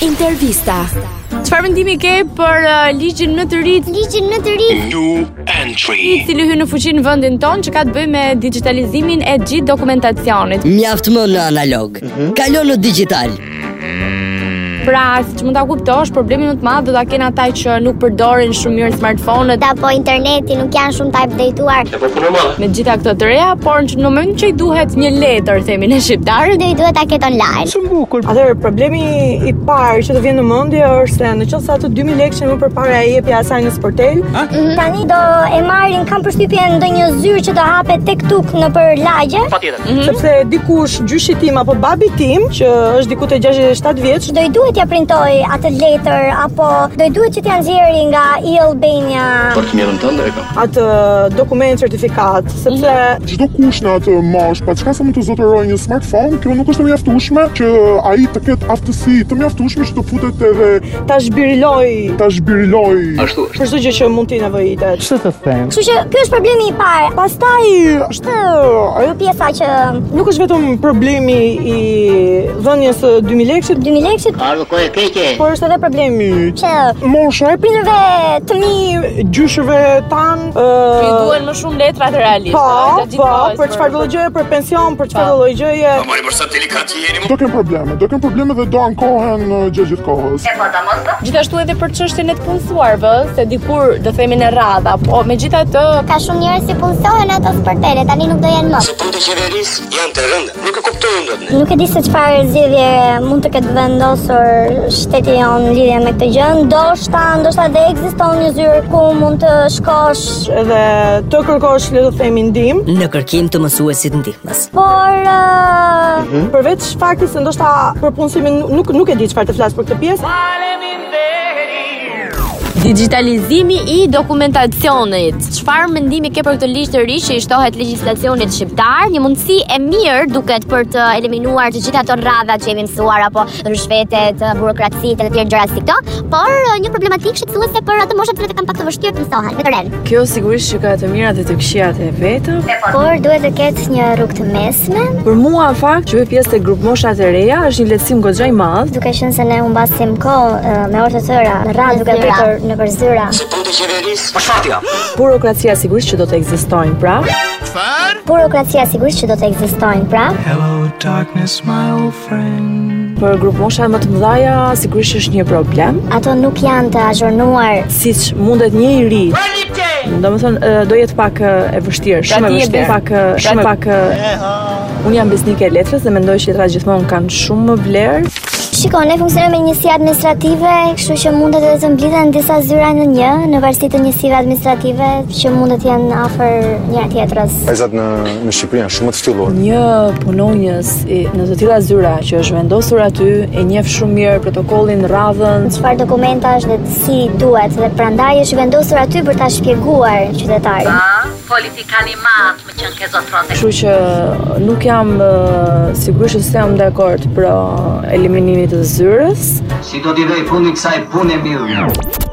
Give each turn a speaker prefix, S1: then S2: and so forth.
S1: Intervista.
S2: Çfarë mendimi ke për uh, ligjin në të ri
S3: Ligjin në të ri
S4: New
S2: i
S4: entry.
S2: cili hyn në fuqi në vendin ton që ka të bëjë me digitalizimin e gjithë dokumentacionit.
S5: Mjaft më në analog. Kalon në digital.
S2: Pra, siç mund ta kuptosh, problemi më të madh do ta kenë ata që nuk përdorin shumë mirë smartphone-et
S3: Da po interneti nuk janë shumë të updateuar.
S2: me gjitha këto të reja, por në momentin që i duhet një letër, themi në shqiptarët,
S3: Do i duhet ta ketë online.
S6: Atëherë problemi i parë që të vjen në mendje është se nëse ato 2000 lekë që më përpara e jepja asaj në sportel,
S3: Tani do e marrin kam përshtypjen ndonjë zyrë që do hapet tek tuk në për lagje, Mhm.
S6: sepse dikush gjyshi tim apo babi tim që është diku te 67 vjeç,
S3: do i duhet ja printoj atë letër apo do i duhet që t'ja nxjerrë nga e-Albania.
S6: atë dokument certifikat, sepse
S3: Mhm.
S7: Çdo kush në atë mosh, pa çka sa më të zotëroj një smartphone, kjo nuk është e mjaftueshme që ai të ketë aftësi të mjaftueshme që të futet edhe
S6: ta zhbiriloj
S7: ta zhbiriloj.
S6: për çdo gjë që mund t'i nevojitet.
S3: Kështu që ky është problemi i parë. Po,
S6: Pastaj është
S3: Kjo pjesa që
S6: nuk është vetëm problemi i dhënies së 2000 lekësh,
S3: 2000 lekësh
S6: por është edhe problemi
S3: që
S6: mosha e
S3: prindërve të mi
S6: primi gjyshëve tan,
S2: i
S6: ë
S2: duhen më shumë letra të realisht.
S6: Po,
S2: pra, gjatë gjithë
S6: po,
S2: kohës,
S6: për çfarë Po. do gjëje, për pension, për çfarë do gjëje.
S4: Po, Mori për sa delikat jeni.
S7: Do kem probleme, do kem probleme dhe do ankohen uh, gjë gjithë kohës.
S2: Gjithashtu edhe për çështjen e të punësuarve, se dikur do themi në radha, po megjithatë
S3: ka shumë njerëz që punësohen ato sportele, tani nuk do jenë më.
S4: Punët e qeverisë janë të rënda. Nuk e kuptojnë dot.
S3: Nuk e di se çfarë zgjedhje mund të ketë vendosur shteti jon në lidhje me këtë gjë. Ndoshta, ndoshta dhe ekziston një zyrë ku mund të shkosh,
S6: edhe të kërkosh le të themi ndihmë,
S5: Në kërkim të mësuesit ndihmës.
S3: por ë,
S6: përveç faktit se ndoshta për punësimin nuk nuk e di çfarë të flas për këtë pjesë.
S2: Digitalizimi i dokumentacionit. Çfarë mendimi ke për këtë ligj të ri që i shtohet legjislacionit shqiptar?
S3: një mundësi e mirë duket për të eliminuar të gjitha ato rradha që jemi mësuar apo rrshvetet, burokracitë e të tjerë gjëra si këto, por ë, një problematikë shqetësuese për atë moshën që kanë pak të vështirë të mësohen, vetë
S8: Kjo sigurisht që ka të mira dhe të këqijat e veta.
S3: Por duhet të ketë një rrugë të mesme,
S8: Për mua në fakt që bëj pjesë të grup moshat e reja është një lehtësim goxha i madh.
S3: duke qenë se ne humbasim kohë ë, me orë të tëra, në rradh duke pritur në përzyra.
S4: Punët e qeverisë. Për fatja.
S8: Burokracia sigurisht që do të ekzistojnë, pra.
S3: Burokracia sigurisht që do të ekzistojnë, pra,
S8: Për grup moshat më të mëdha sigurisht është një problem,
S3: ato nuk janë të azhurnuar.
S8: siç mundet një i ri. Do më thonë, ë, do jetë pak ë, e vështirë, shumë e
S2: Pra ti je
S8: vështirë,
S2: bes-
S8: pak, ë, shumë e pak... ë, Unë jam besnike e letrës dhe mendoj që letra gjithmonë kanë shumë më vlerë.
S3: Shiko, ne funksionojmë me njësi administrative, kështu që mundet edhe të mblidhen disa zyra në një, në varësi të njësive administrative që mundet janë afër njëra tjetrës.
S9: Vajzat në në Shqipëri janë shumë të ftyllur.
S8: Një punonjës i- në të tilla zyra që është vendosur aty, e njeh shumë mirë protokollin, radhën,
S3: Ehm, Çfarë dokumentash dhe si duhet dhe prandaj është i vendosur aty për ta shpjeguar qytetarit.
S8: Kështu që nuk jam e, sigurisht se jam dakord për eliminimin e zyrës.
S10: Si do t'i vej fundi kësaj pune mirë.